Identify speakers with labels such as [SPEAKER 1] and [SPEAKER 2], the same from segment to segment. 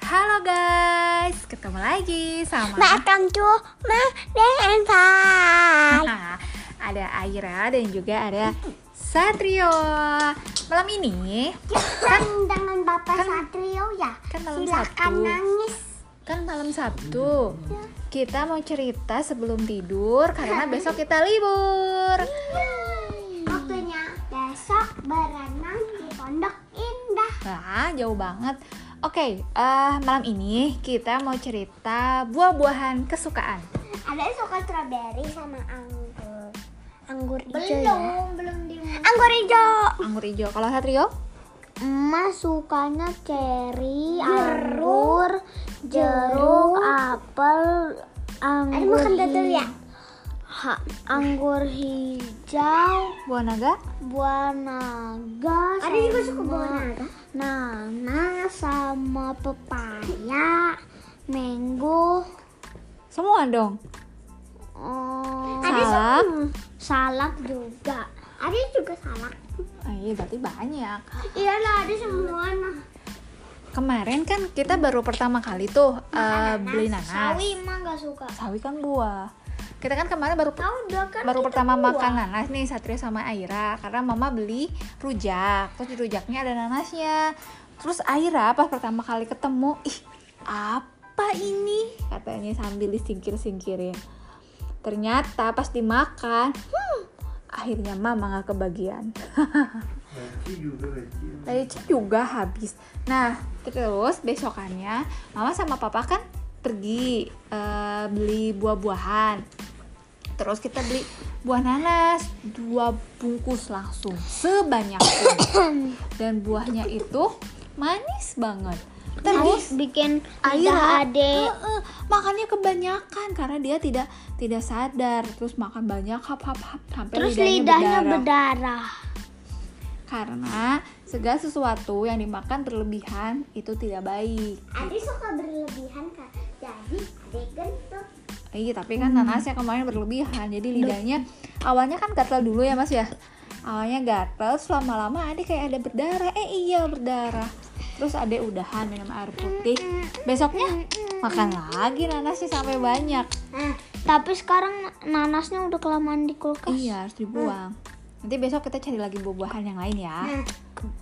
[SPEAKER 1] Halo guys, ketemu lagi sama
[SPEAKER 2] Welcome to my day and five.
[SPEAKER 1] ada Aira dan juga ada Satrio. Malam ini
[SPEAKER 2] Kan dengan Bapak
[SPEAKER 1] Kan-
[SPEAKER 2] Satrio ya.
[SPEAKER 1] kan malam
[SPEAKER 2] Silakan
[SPEAKER 1] Sabtu.
[SPEAKER 2] nangis.
[SPEAKER 1] kan malam Sabtu. Kita mau cerita sebelum tidur karena besok kita libur.
[SPEAKER 2] Waktunya besok berenang di Pondok Indah.
[SPEAKER 1] Wah, jauh banget. Oke, eh, malam ini kita mau cerita buah-buahan kesukaan.
[SPEAKER 2] Ada yang suka strawberry sama anggur. Anggur ya?
[SPEAKER 3] Belum, belum di
[SPEAKER 2] Anggur hijau.
[SPEAKER 1] Anggur hijau. Kalau Satrio?
[SPEAKER 3] Emak sukanya cherry,
[SPEAKER 2] Jeruk.
[SPEAKER 3] anggur, jeruk, apel,
[SPEAKER 2] Ada
[SPEAKER 3] anggur
[SPEAKER 2] makan dodol ya?
[SPEAKER 3] hi- ha- anggur hijau,
[SPEAKER 1] Buah naga?
[SPEAKER 3] buah naga,
[SPEAKER 2] Ada juga suka
[SPEAKER 3] sama
[SPEAKER 2] buah naga.
[SPEAKER 3] nanas, sama pepaya, mango,
[SPEAKER 1] Semua dong.
[SPEAKER 3] eh,
[SPEAKER 1] Salak.
[SPEAKER 3] salak juga.
[SPEAKER 2] Ada juga salak.
[SPEAKER 1] Ah, Iya, berarti banyak.
[SPEAKER 2] Iya lah, ada semua. Nah.
[SPEAKER 1] Kemarin kan kita baru pertama kali tuh eh, beli nanas.
[SPEAKER 3] Sawi emang gak suka.
[SPEAKER 1] Sawi kan buah. Kita kan kemarin baru
[SPEAKER 2] Tahu udah kan?
[SPEAKER 1] baru
[SPEAKER 2] itu
[SPEAKER 1] pertama
[SPEAKER 2] buah.
[SPEAKER 1] makan nanas nih Satria sama Aira karena mama beli rujak. Terus di rujaknya ada nanasnya. Terus Aira pas pertama kali ketemu, ih apa ini? Katanya sambil disingkir-singkirin. Ternyata pas dimakan, hmm, akhirnya mama nggak kebagian. Tadi Ci juga habis. Nah, terus besokannya mama sama papa kan pergi eh, beli buah-buahan. Terus kita beli buah nanas dua bungkus langsung sebanyak itu. Dan buahnya itu manis banget.
[SPEAKER 3] Terus
[SPEAKER 1] Terus
[SPEAKER 3] bikin
[SPEAKER 1] Aira
[SPEAKER 3] lidah adek
[SPEAKER 1] Heeh, makannya kebanyakan karena dia tidak tidak sadar terus makan banyak hap hap hap sampai
[SPEAKER 3] Terus
[SPEAKER 1] lidahnya
[SPEAKER 3] lidahnya
[SPEAKER 1] berdarah
[SPEAKER 3] berdarah.
[SPEAKER 1] karena segala sesuatu yang dimakan berlebihan itu tidak baik.
[SPEAKER 2] Ada suka berlebihan kan? Jadi ada gendut.
[SPEAKER 1] Iya, tapi kan nanasnya kemarin berlebihan, jadi lidahnya awalnya kan gatal dulu ya mas ya. Awalnya gatal, selama lama adik kayak ada berdarah. Eh iya berdarah. Terus adek udahan minum air putih. Besoknya makan lagi nanasnya sampai banyak.
[SPEAKER 3] Nah, Tapi sekarang nanasnya udah kelamaan di kulkas.
[SPEAKER 1] Iya harus dibuang. Nanti besok kita cari lagi buah-buahan yang lain ya.
[SPEAKER 3] Nah,
[SPEAKER 2] Hmm.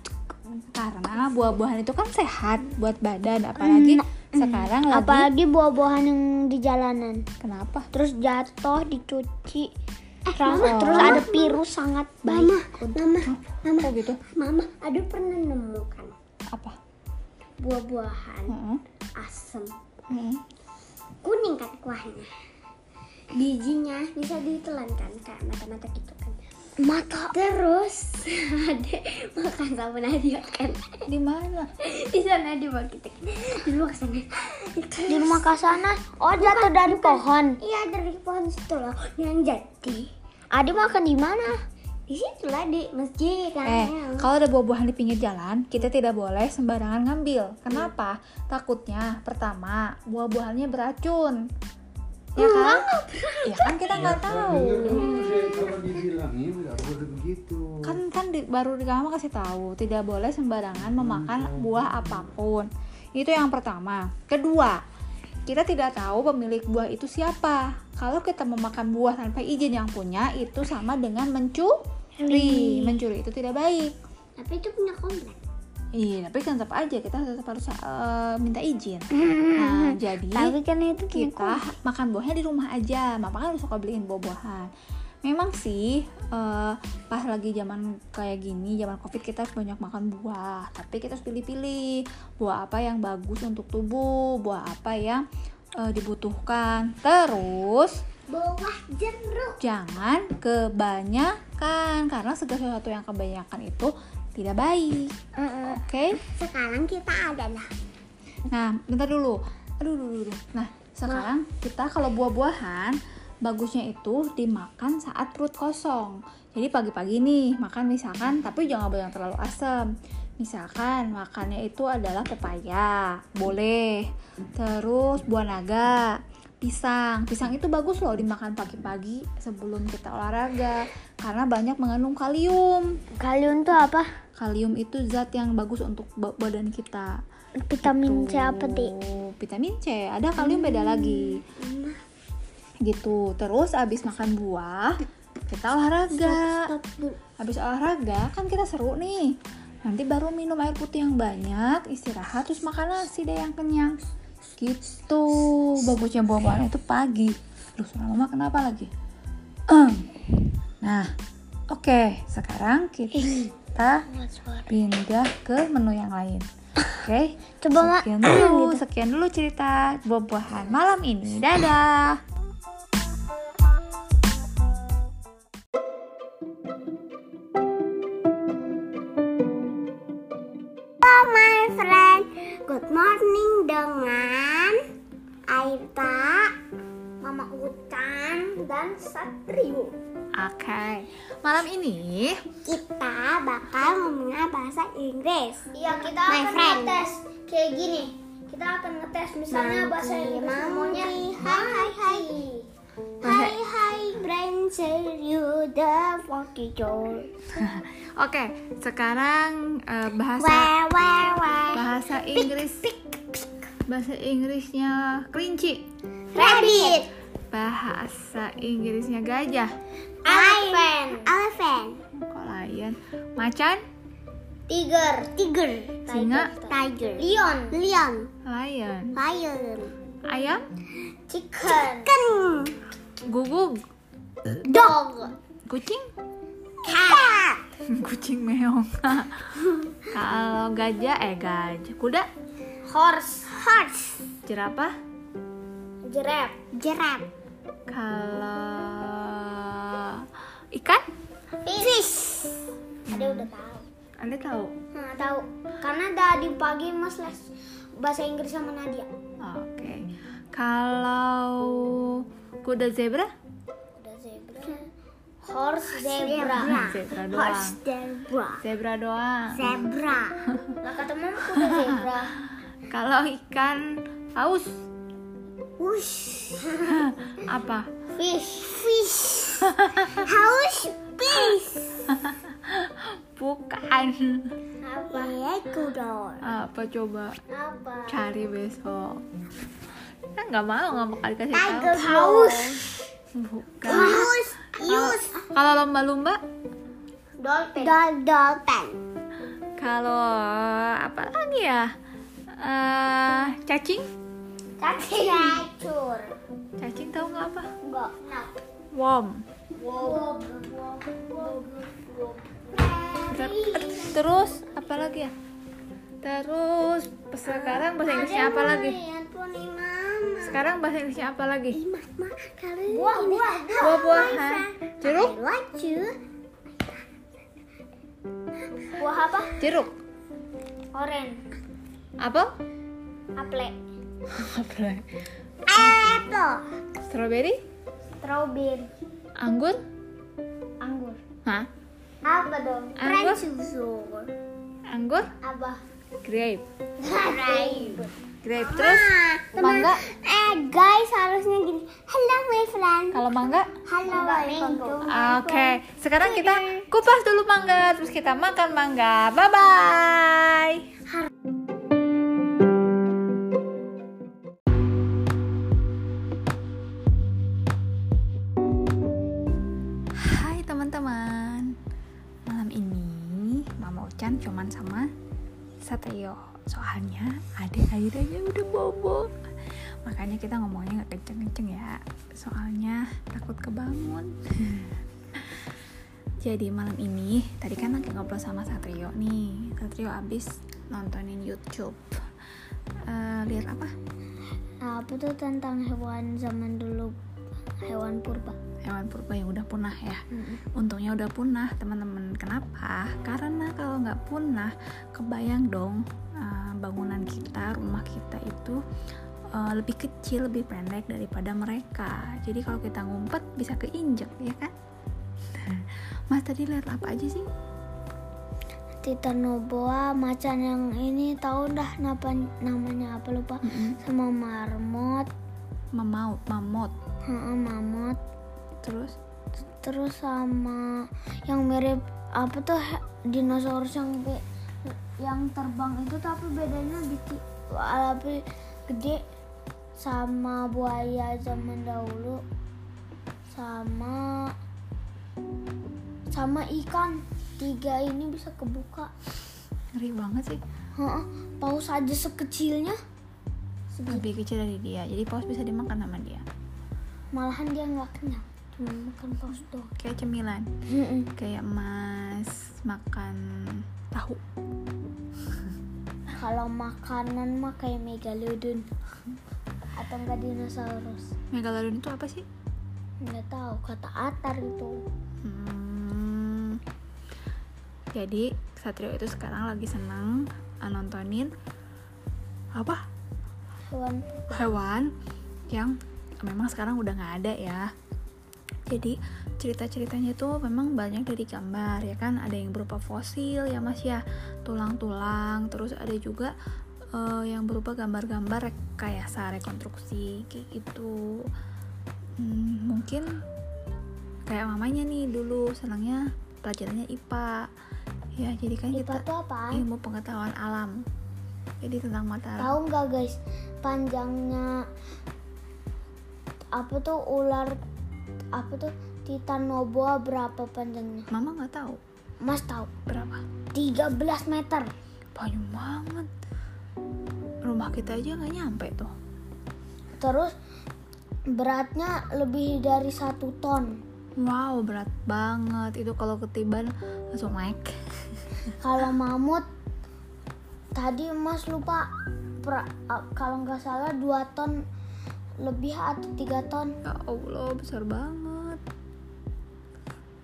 [SPEAKER 1] Karena buah-buahan itu kan sehat buat badan, apalagi sekarang
[SPEAKER 2] Hmm.
[SPEAKER 1] lagi.
[SPEAKER 3] Apalagi buah-buahan yang di jalanan.
[SPEAKER 1] Kenapa?
[SPEAKER 3] Terus jatuh, dicuci. terus,
[SPEAKER 1] Mama,
[SPEAKER 3] terus
[SPEAKER 1] Mama.
[SPEAKER 3] ada virus sangat baik.
[SPEAKER 2] Eh, Mama, mama, mama,
[SPEAKER 1] Kok gitu?
[SPEAKER 2] mama, ada pernah nemukan
[SPEAKER 1] Apa?
[SPEAKER 2] buah-buahan
[SPEAKER 1] Heeh.
[SPEAKER 2] asem
[SPEAKER 3] Hmm.
[SPEAKER 1] Heeh.
[SPEAKER 2] kuning kan kuahnya bijinya bisa ditelan kan kayak mata-mata gitu kan
[SPEAKER 3] Mata
[SPEAKER 2] terus ada makan sama Nadia kan
[SPEAKER 1] Di mana?
[SPEAKER 2] di sana di bawah kita kan di rumah sana
[SPEAKER 3] di rumah ke sana. Oh, jatuh dari pohon.
[SPEAKER 2] iya dari pohon situ loh yang jadi
[SPEAKER 3] Adi makan di mana?
[SPEAKER 2] di situ lah di masjid kan
[SPEAKER 1] Eh, kalau ada buah-buahan di pinggir jalan, kita tidak boleh sembarangan ngambil. Kenapa? Takutnya pertama buah-buahannya beracun. Ya kan? Ya kan kita nggak tahu.
[SPEAKER 4] Kalau dibilangin nggak boleh begitu.
[SPEAKER 1] Kan kan di- baru di kamu kasih tahu, tidak boleh sembarangan memakan buah apapun. Itu yang pertama. Kedua, kita tidak tahu pemilik buah itu siapa. Kalau kita memakan buah tanpa izin yang punya, itu sama dengan mencuri. Mencuri itu tidak baik.
[SPEAKER 2] tapi itu punya komplek
[SPEAKER 1] Iya, tapi kan tetap aja kita tetap harus eh, minta izin.
[SPEAKER 2] Hmm, Ah.
[SPEAKER 1] Nah, jadi
[SPEAKER 3] Hmm. Tapi kan itu
[SPEAKER 2] Gitu.
[SPEAKER 1] kita makan buahnya di rumah aja. Mama kan suka beliin buah-buahan. Memang sih eh, pas lagi zaman kayak gini, zaman covid kita harus banyak makan buah. Tapi kita harus pilih-pilih buah apa yang bagus untuk tubuh, buah apa yang eh, dibutuhkan. Terus
[SPEAKER 2] bawah jeruk
[SPEAKER 1] jangan kebanyakan karena segala sesuatu yang kebanyakan itu tidak baik. Oke?
[SPEAKER 2] sekarang kita adalah
[SPEAKER 1] Nah, bentar dulu. Aduh, aduh, aduh, aduh. Nah, sekarang kita kalau buah-buahan bagusnya itu dimakan saat perut kosong. Jadi pagi-pagi nih makan misalkan, tapi jangan yang terlalu asam. Misalkan makannya itu adalah pepaya, boleh. Terus buah naga, pisang. Pisang itu bagus loh dimakan pagi-pagi sebelum kita olahraga karena banyak mengandung kalium.
[SPEAKER 3] Kalian tuh apa?
[SPEAKER 1] Kalium itu zat yang bagus untuk ba- badan kita
[SPEAKER 3] Vitamin C
[SPEAKER 1] Tuh,
[SPEAKER 3] apa, Ti?
[SPEAKER 1] Gitu. vitamin C, ada kalium beda lagi. Gitu. Terus abis makan buah, kita olahraga.
[SPEAKER 5] Stop dulu.
[SPEAKER 1] Habis olahraga kan kita seru nih. Nanti baru minum air putih yang banyak, istirahat terus makan nasi deh yang kenyang. Gitu. Bagusnya buah-buahan itu pagi. Lu suara mama kenapa lagi? Em. Nah, oke, sekarang kita pindah ke menu yang lain. Oke.
[SPEAKER 3] Coba, Gitu. Mak.
[SPEAKER 1] Sekian dulu, gitu. sekian dulu cerita buah-buahan malam ini. Dadah.
[SPEAKER 5] my friend. Good morning dengan Aita, Mama Utan, dan Satrio.
[SPEAKER 1] Oke. Malam ini
[SPEAKER 5] Kita bakal ngomongin bahasa Inggris.
[SPEAKER 2] Iya, kita
[SPEAKER 5] My
[SPEAKER 2] akan
[SPEAKER 5] friend.
[SPEAKER 2] ngetes kayak gini. Kita akan ngetes misalnya bahasa Inggris semuanya.
[SPEAKER 5] Hai, hai, hai. Hai, hai, Brancher, you the forty door.
[SPEAKER 1] Oke, sekarang eh, bahasa
[SPEAKER 5] Wah, wah, wah.
[SPEAKER 1] bahasa Inggris bahasa Inggrisnya kelinci,
[SPEAKER 5] Rabbit,
[SPEAKER 1] bahasa Inggrisnya gajah,
[SPEAKER 2] Elephant,
[SPEAKER 5] elephant,
[SPEAKER 1] kok lion, macan,
[SPEAKER 2] tiger,
[SPEAKER 5] tiger,
[SPEAKER 1] singa,
[SPEAKER 5] tiger,
[SPEAKER 2] lion,
[SPEAKER 5] lion,
[SPEAKER 1] lion,
[SPEAKER 5] lion,
[SPEAKER 1] ayam,
[SPEAKER 2] chicken,
[SPEAKER 5] chicken,
[SPEAKER 1] gugug,
[SPEAKER 2] dog,
[SPEAKER 1] kucing,
[SPEAKER 5] cat,
[SPEAKER 1] kucing meong. Kalau gajah eh gajah, kuda,
[SPEAKER 2] horse,
[SPEAKER 5] horse,
[SPEAKER 1] jerapah,
[SPEAKER 2] giraffe,
[SPEAKER 5] giraffe,
[SPEAKER 1] kalau ikan,
[SPEAKER 2] fish. Ada udah tahu.
[SPEAKER 1] Anda tahu?
[SPEAKER 2] Nah, tahu. Karena tadi pagi Mas les bahasa Inggris sama Nadia.
[SPEAKER 1] Oke. Kalau kuda zebra?
[SPEAKER 2] Udah zebra. Horse zebra.
[SPEAKER 1] Zebra doang.
[SPEAKER 5] horse, zebra,
[SPEAKER 1] Zebra doang.
[SPEAKER 5] zebra,
[SPEAKER 2] Lah kata mama udah zebra.
[SPEAKER 1] Kalau ikan paus
[SPEAKER 5] whoosh,
[SPEAKER 1] apa?
[SPEAKER 2] Fish.
[SPEAKER 5] fish, house, fish,
[SPEAKER 1] Bukan.
[SPEAKER 2] Apa?
[SPEAKER 5] ecuador,
[SPEAKER 1] Apa coba
[SPEAKER 2] Apa?
[SPEAKER 1] cari besok? Kan nggak mau nggak bakal dikasih tahu.
[SPEAKER 2] Tiger house.
[SPEAKER 1] Bukan.
[SPEAKER 5] use, use,
[SPEAKER 1] Kalau lomba-lomba?
[SPEAKER 2] Dolphin.
[SPEAKER 5] doll, dolphin,
[SPEAKER 1] Kalau apa lagi ya? Eh, cacing?
[SPEAKER 2] Cacing. Cacur.
[SPEAKER 1] Cacing tahu nggak apa?
[SPEAKER 2] Enggak. Nah.
[SPEAKER 1] Worm.
[SPEAKER 2] Wow.
[SPEAKER 1] Ter- terus apa lagi ya? Terus sekarang bahasa Inggrisnya apa lagi? Sekarang bahasa Inggrisnya apa lagi?
[SPEAKER 5] mama, kalau
[SPEAKER 2] Buah, buah, buah.
[SPEAKER 1] Buah-buahan. Jeruk,
[SPEAKER 5] want you,
[SPEAKER 2] Buah apa?
[SPEAKER 1] jeruk.
[SPEAKER 2] Oren.
[SPEAKER 1] Apel?
[SPEAKER 2] Apple.
[SPEAKER 1] Apel.
[SPEAKER 5] apple,
[SPEAKER 1] Strawberry?
[SPEAKER 2] Strawberry.
[SPEAKER 1] Anggur?
[SPEAKER 2] Anggur.
[SPEAKER 1] Hah?
[SPEAKER 2] Apa dong?
[SPEAKER 1] Anggur? Anggur?
[SPEAKER 2] Apa?
[SPEAKER 1] Grape.
[SPEAKER 2] Grape.
[SPEAKER 1] Grape terus mangga.
[SPEAKER 5] eh guys harusnya gini, hello my friend,
[SPEAKER 1] Kalau mangga?
[SPEAKER 5] hello welcome to
[SPEAKER 1] Oke, sekarang kita kupas dulu mangga, terus kita makan mangga. Bye bye. Hai teman-teman. Malam ini Mama Ocan cuman sama Satrio. Soalnya adik airnya udah bobo. Makanya kita ngomongnya nggak kenceng-kenceng ya. Soalnya takut kebangun. Jadi malam ini tadi kan lagi ngobrol sama Satrio nih. Satrio abis nontonin YouTube. Eh, lihat apa?
[SPEAKER 2] Nah, Apa tuh tentang hewan zaman dulu? Hewan purba.
[SPEAKER 1] Hewan purba yang udah punah ya. Untungnya udah punah teman-teman. Kenapa? Karena kalau nggak punah, kebayang dong eh, bangunan kita, rumah kita itu eh, lebih kecil, lebih pendek daripada mereka. Jadi kalau kita ngumpet bisa keinjek ya kan? Mas tadi lihat apa aja sih?
[SPEAKER 2] Titanoboa, macan yang ini tahu dah napa namanya apa lupa sama marmot,
[SPEAKER 1] Memaut, mamut,
[SPEAKER 2] heeh, mamut,
[SPEAKER 1] terus
[SPEAKER 2] terus sama yang mirip apa tuh he- dinosaurus yang be- yang terbang itu tapi bedanya di ki- tapi gitu? gede sama buaya zaman dahulu sama sama ikan tiga ini bisa kebuka
[SPEAKER 1] Ngeri banget sih.
[SPEAKER 2] Heeh, paus aja sekecilnya
[SPEAKER 1] Lebih kecil dari dia. Jadi paus bisa dimakan sama dia.
[SPEAKER 2] malahan dia nggak kenyang cuma makan paus doang
[SPEAKER 1] Kayak cemilan.
[SPEAKER 2] Mm-mm.
[SPEAKER 1] Kayak mas makan tahu.
[SPEAKER 2] kalau makanan mah kayak megalodon atau enggak dinosaurus
[SPEAKER 1] Megalodon itu apa sih?
[SPEAKER 2] nggak tahu kata Atar itu
[SPEAKER 1] Hmm. Jadi Satrio itu sekarang lagi senang eh, nontonin apa
[SPEAKER 2] hewan
[SPEAKER 1] hewan yang memang sekarang udah nggak ada ya. Jadi cerita-ceritanya tuh memang banyak dari gambar ya kan ada yang berupa fosil ya mas ya tulang-tulang terus ada juga eh, yang berupa gambar-gambar rekayasa rekonstruksi kayak gitu Hmm, mungkin kayak mamanya nih dulu senangnya pelajarannya IPA ya jadi kan
[SPEAKER 2] IPA
[SPEAKER 1] kita
[SPEAKER 2] tuh apaan?
[SPEAKER 1] ilmu pengetahuan alam jadi tentang matahari
[SPEAKER 2] Tahu nggak guys, panjangnya apa tuh ular apa tuh titanoboa berapa panjangnya?
[SPEAKER 1] mama nggak tahu
[SPEAKER 2] Mas tahu?
[SPEAKER 1] berapa
[SPEAKER 2] 13 meter.
[SPEAKER 1] banyak banget rumah kita aja nggak nyampe tuh
[SPEAKER 2] Terus beratnya lebih dari satu ton.
[SPEAKER 1] wow berat banget itu kalau ketiban langsung naik
[SPEAKER 2] Kalau mamut tadi Mas lupa pra- a- kalau nggak salah 2 ton lebih atau 3 ton.
[SPEAKER 1] ya allah besar banget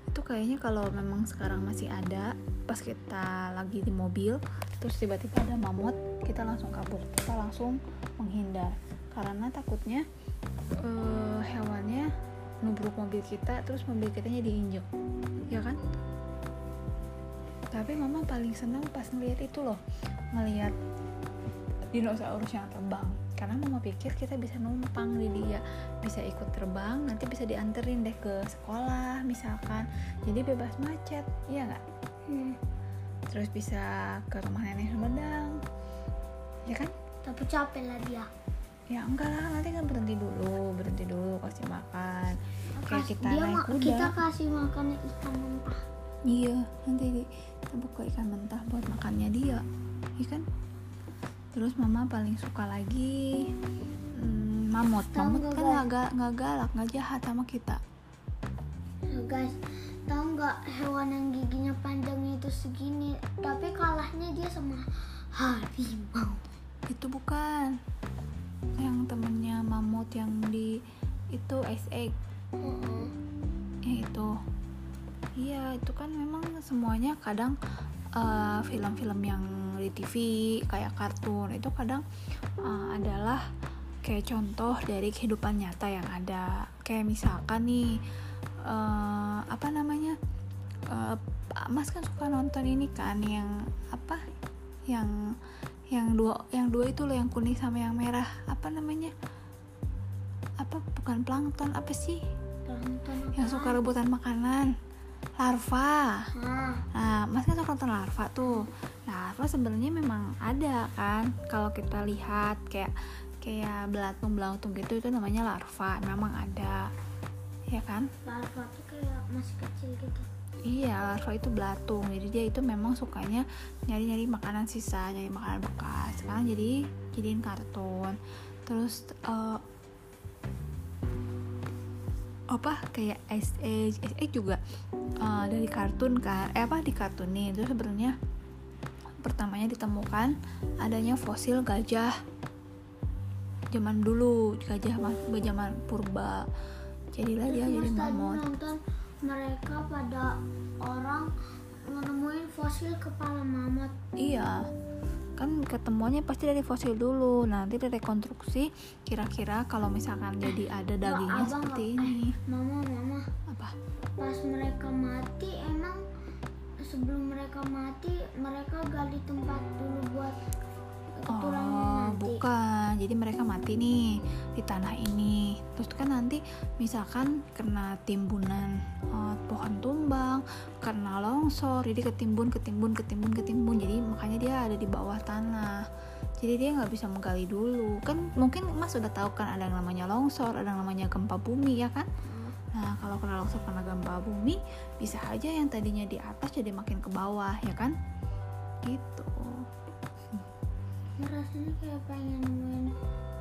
[SPEAKER 1] itu kayaknya kalau memang sekarang masih ada pas kita lagi di mobil terus tiba-tiba ada mamut kita langsung kabur kita langsung menghindar karena takutnya eh, hewannya nubruk mobil kita terus mobil kitanya diinjek ya kan tapi mama paling senang pas ngeliat itu loh ngeliat dinosaurus yang terbang karena mama pikir kita bisa numpang di dia bisa ikut terbang nanti bisa dianterin deh ke sekolah misalkan jadi bebas macet iya nggak
[SPEAKER 2] Hmm,
[SPEAKER 1] terus bisa ke rumah nenek Sumedang ya kan
[SPEAKER 2] Tapi capek lah dia.
[SPEAKER 1] ya enggak lah nanti kan berhenti dulu berhenti dulu kasih makan kayak
[SPEAKER 2] Kas-
[SPEAKER 1] kita
[SPEAKER 2] dia
[SPEAKER 1] naik
[SPEAKER 2] ma-
[SPEAKER 1] kuda
[SPEAKER 2] kita kasih makan ikan mentah.
[SPEAKER 1] Iya, nanti di- kita buka ikan mentah buat makannya dia, ya kan? Terus mama paling suka lagi mm, mamut.
[SPEAKER 2] Tahu
[SPEAKER 1] mamut
[SPEAKER 2] nggak,
[SPEAKER 1] kan
[SPEAKER 2] guys?
[SPEAKER 1] nggak ga- nggak galak, nggak jahat sama kita.
[SPEAKER 2] Nah, guys, tahu nggak hewan yang giginya panjang itu segini, tapi kalahnya dia sama harimau.
[SPEAKER 1] Itu bukan yang temennya mamut yang di itu ice egg. Ya itu. Iya, itu kan memang semuanya kadang eh, film-film yang di TV kayak kartun itu kadang eh, adalah kayak contoh dari kehidupan nyata yang ada. Kayak misalkan nih eh, apa namanya? eh, Pak Mas kan suka nonton ini kan yang apa? Yang yang dua yang dua itu loh yang kuning sama yang merah. Apa namanya? Apa bukan plankton apa sih?
[SPEAKER 2] Plankton
[SPEAKER 1] yang suka rebutan makanan larva
[SPEAKER 2] Nah,
[SPEAKER 1] nah mas kan suka nonton larva tuh nah larva sebenarnya memang ada kan kalau kita lihat kayak kayak belatung belatung gitu itu namanya larva memang ada ya kan
[SPEAKER 2] larva tuh kayak masih kecil gitu.
[SPEAKER 1] Iya, larva itu belatung. Jadi dia itu memang sukanya nyari-nyari makanan sisa, nyari makanan bekas. Sekarang jadi jadiin kartun. Terus eh, apa kayak Ice Age, Ice Age juga eh, dari kartun kan? Eh apa di kartun nih? Terus sebenarnya pertamanya ditemukan adanya fosil gajah zaman dulu gajah mas- zaman purba jadilah dia
[SPEAKER 2] Terus
[SPEAKER 1] jadi
[SPEAKER 2] Mas tadi
[SPEAKER 1] mamut
[SPEAKER 2] nonton mereka pada orang nemuin fosil kepala mamut.
[SPEAKER 1] Iya, kan ketemuannya pasti dari fosil dulu. Nanti direkonstruksi kira-kira kalau misalkan jadi ada dagingnya
[SPEAKER 2] Iya, abang,
[SPEAKER 1] seperti
[SPEAKER 2] abang.
[SPEAKER 1] ini.
[SPEAKER 2] Mama, mama,
[SPEAKER 1] Apa?
[SPEAKER 2] pas mereka mati emang sebelum mereka mati mereka gali tempat dulu buat tulangnya
[SPEAKER 1] Oh,
[SPEAKER 2] nanti.
[SPEAKER 1] bukan. Jadi mereka mati nih di tanah ini. Terus kan nanti misalkan kena timbunan eh, pohon tumbang, kena longsor, jadi ketimbun, ketimbun, ketimbun, ketimbun. Jadi makanya dia ada di bawah tanah. Jadi dia nggak bisa menggali dulu. Kan mungkin Mas udah tahu kan ada yang namanya longsor, ada yang namanya gempa bumi ya kan? Nah, kalau kena longsor kena gempa bumi, bisa aja yang tadinya di atas jadi makin ke bawah ya kan? Gitu.
[SPEAKER 2] Ya, rasanya kayak pengen main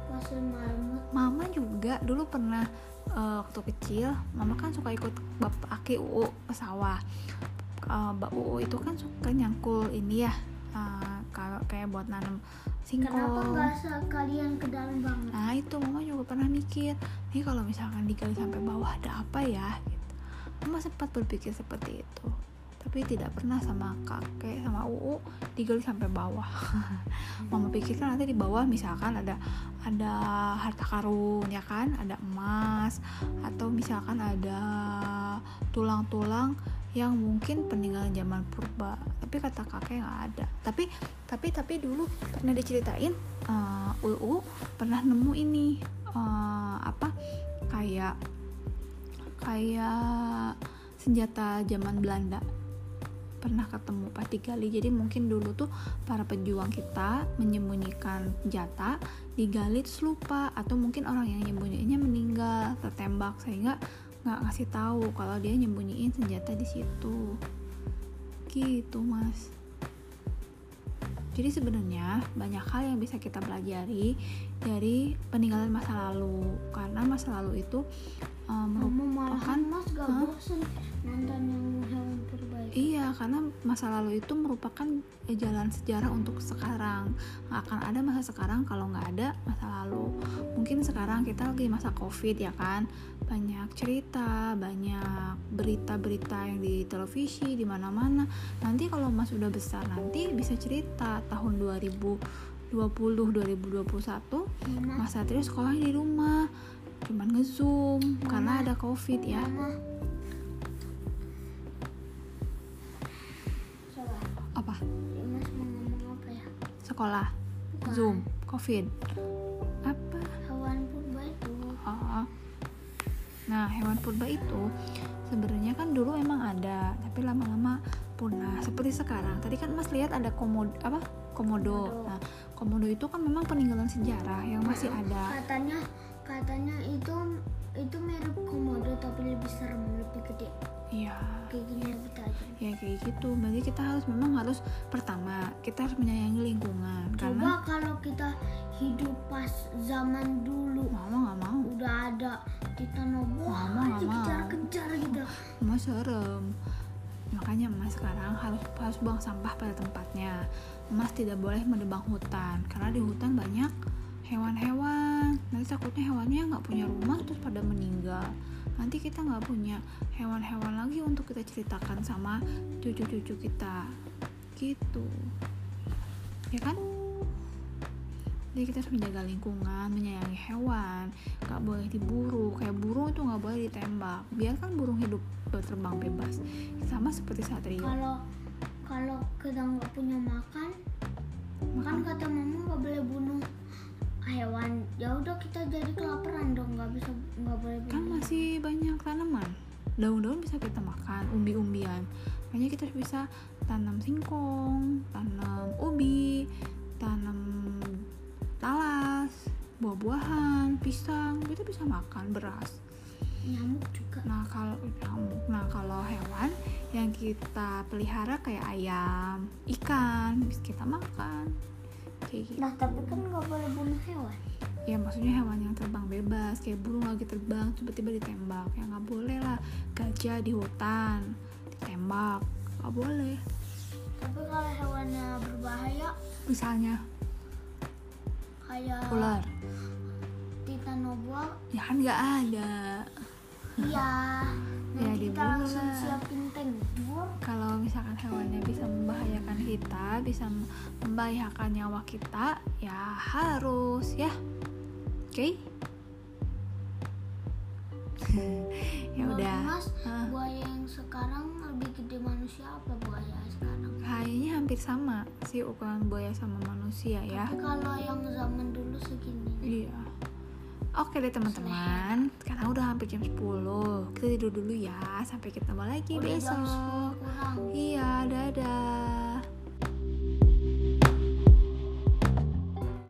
[SPEAKER 2] pasir marmut
[SPEAKER 1] Mama juga dulu pernah eh, waktu kecil, Mama kan suka ikut bapak aki UU ke sawah. Eh, Mbak UU itu kan suka nyangkul ini ya, eh, kalau kayak buat nanam singkong.
[SPEAKER 2] kenapa nggak sekalian ke dalam banget
[SPEAKER 1] Nah itu mama juga pernah mikir Ini kalau misalkan digali sampai bawah ada apa ya gitu. Mama sempat berpikir seperti itu Tapi tidak pernah sama kakek sama UU digali sampai bawah Mama pikirkan nanti di bawah misalkan ada ada harta karun ya kan Ada emas Atau misalkan ada tulang-tulang yang mungkin peninggalan zaman purba tapi kata kakek nggak ada tapi tapi tapi dulu pernah diceritain eh, UU pernah nemu ini eh, apa kayak kayak senjata zaman Belanda pernah ketemu pas digali jadi mungkin dulu tuh para pejuang kita menyembunyikan senjata digali terus lupa atau mungkin orang yang nyembunyiinnya meninggal tertembak sehingga nggak ngasih tahu kalau dia nyembunyiin senjata di situ gitu mas jadi sebenarnya banyak hal yang bisa kita pelajari dari peninggalan masa lalu karena masa lalu itu eh,
[SPEAKER 2] kamu
[SPEAKER 1] merupakan
[SPEAKER 2] malahan mas gak
[SPEAKER 1] Hah?
[SPEAKER 2] bosen nonton yang hewan purba itu
[SPEAKER 1] Iya, karena masa lalu itu merupakan eh, jalan sejarah untuk sekarang. Nggak akan ada masa sekarang kalau nggak ada masa lalu. Mungkin sekarang kita lagi masa COVID ya kan, banyak cerita, banyak berita-berita yang di televisi di mana-mana. Nanti kalau Mas udah besar nanti bisa cerita tahun 2020 2021
[SPEAKER 2] Mama,
[SPEAKER 1] Mas Satrio sekolah di rumah cuman nge-zoom karena ada covid ya
[SPEAKER 2] mama coba
[SPEAKER 1] apa
[SPEAKER 2] mas mau ngomong apa ya
[SPEAKER 1] sekolah Zoom, COVID. Apa?
[SPEAKER 2] hewan purba itu
[SPEAKER 1] Oh. Nah, hewan purba itu sebenarnya kan dulu emang ada, tapi lama-lama punah. Seperti sekarang. Tadi kan Mas lihat ada komodo apa? Komodo.
[SPEAKER 2] Komodo.
[SPEAKER 1] Nah, komodo itu kan memang peninggalan sejarah yang masih ada.
[SPEAKER 2] katanya katanya itu itu mirip komodo tapi lebih serem lebih gede
[SPEAKER 1] Iya.
[SPEAKER 2] kayak gini lebih tajam
[SPEAKER 1] Ya kayak gitu. Berarti kita harus memang harus pertama kita harus menyayangi lingkungan karena
[SPEAKER 2] coba kalau kita hidup pas zaman dulu
[SPEAKER 1] mama nggak mau.
[SPEAKER 2] udah ada titanobua
[SPEAKER 1] Mama nggak
[SPEAKER 2] aja
[SPEAKER 1] mau.
[SPEAKER 2] kejar-kejar gitu
[SPEAKER 1] Emang serem. Makanya emas sekarang harus harus buang sampah pada tempatnya. Emas tidak boleh menebang hutan karena di hutan banyak hewan-hewan. Nanti takutnya hewannya nggak punya rumah terus pada meninggal. Nanti kita nggak punya hewan-hewan lagi untuk kita ceritakan sama cucu-cucu kita. Gitu. Ya kan? Jadi kita harus menjaga lingkungan, menyayangi hewan, nggak boleh diburu. Kayak burung itu nggak boleh ditembak. Biarkan burung hidup berterbang bebas. Sama seperti satria.
[SPEAKER 2] kalau kalau kita nggak punya makan makan
[SPEAKER 1] Makan
[SPEAKER 2] kata mama nggak boleh bunuh hewan ya udah kita jadi kelaparan dong nggak bisa nggak boleh
[SPEAKER 1] kan
[SPEAKER 2] bunuh
[SPEAKER 1] masih banyak tanaman. Daun-daun bisa kita makan, umbi-umbian. Makanya kita harus bisa tanam singkong, tanam ubi, tanam talas, buah-buahan, pisang, kita bisa makan beras.
[SPEAKER 2] nyamuk juga
[SPEAKER 1] Nah kalau nyamuk, nah kalau hewan yang kita pelihara kayak ayam, ikan, bisa kita makan. Kayak gitu.
[SPEAKER 2] nah tapi kan nggak boleh bunuh hewan
[SPEAKER 1] Ya maksudnya hewan yang terbang bebas, kayak burung lagi terbang tiba-tiba ditembak. Ya nggak boleh lah. Gajah di hutan ditembak, nggak boleh.
[SPEAKER 2] tapi kalau hewannya berbahaya
[SPEAKER 1] Misalnya
[SPEAKER 2] kayak
[SPEAKER 1] ular,
[SPEAKER 2] titanobua
[SPEAKER 1] ya kan nggak ada.
[SPEAKER 2] iya
[SPEAKER 1] Ya,
[SPEAKER 2] nanti kita
[SPEAKER 1] dibunuh
[SPEAKER 2] langsung
[SPEAKER 1] lah.
[SPEAKER 2] siapin tank dua
[SPEAKER 1] Kalau misalkan hewannya bisa membahayakan kita, bisa membahayakan nyawa kita, ya harus ya. Oke? ya
[SPEAKER 2] Menurut
[SPEAKER 1] udah.
[SPEAKER 2] Mas,
[SPEAKER 1] Hah.
[SPEAKER 2] buaya yang sekarang lebih gede manusia apa buaya sekarang?
[SPEAKER 1] Kayaknya hampir hampir sama sih ukuran buaya sama manusia ya.
[SPEAKER 2] Kalau yang zaman dulu segini.
[SPEAKER 1] Iya. Oke deh teman-teman, sekarang udah hampir jam 10. Kita tidur dulu ya, sampai ketemu lagi
[SPEAKER 2] Udah
[SPEAKER 1] besok.
[SPEAKER 2] jam 10 kurang.
[SPEAKER 1] Iya,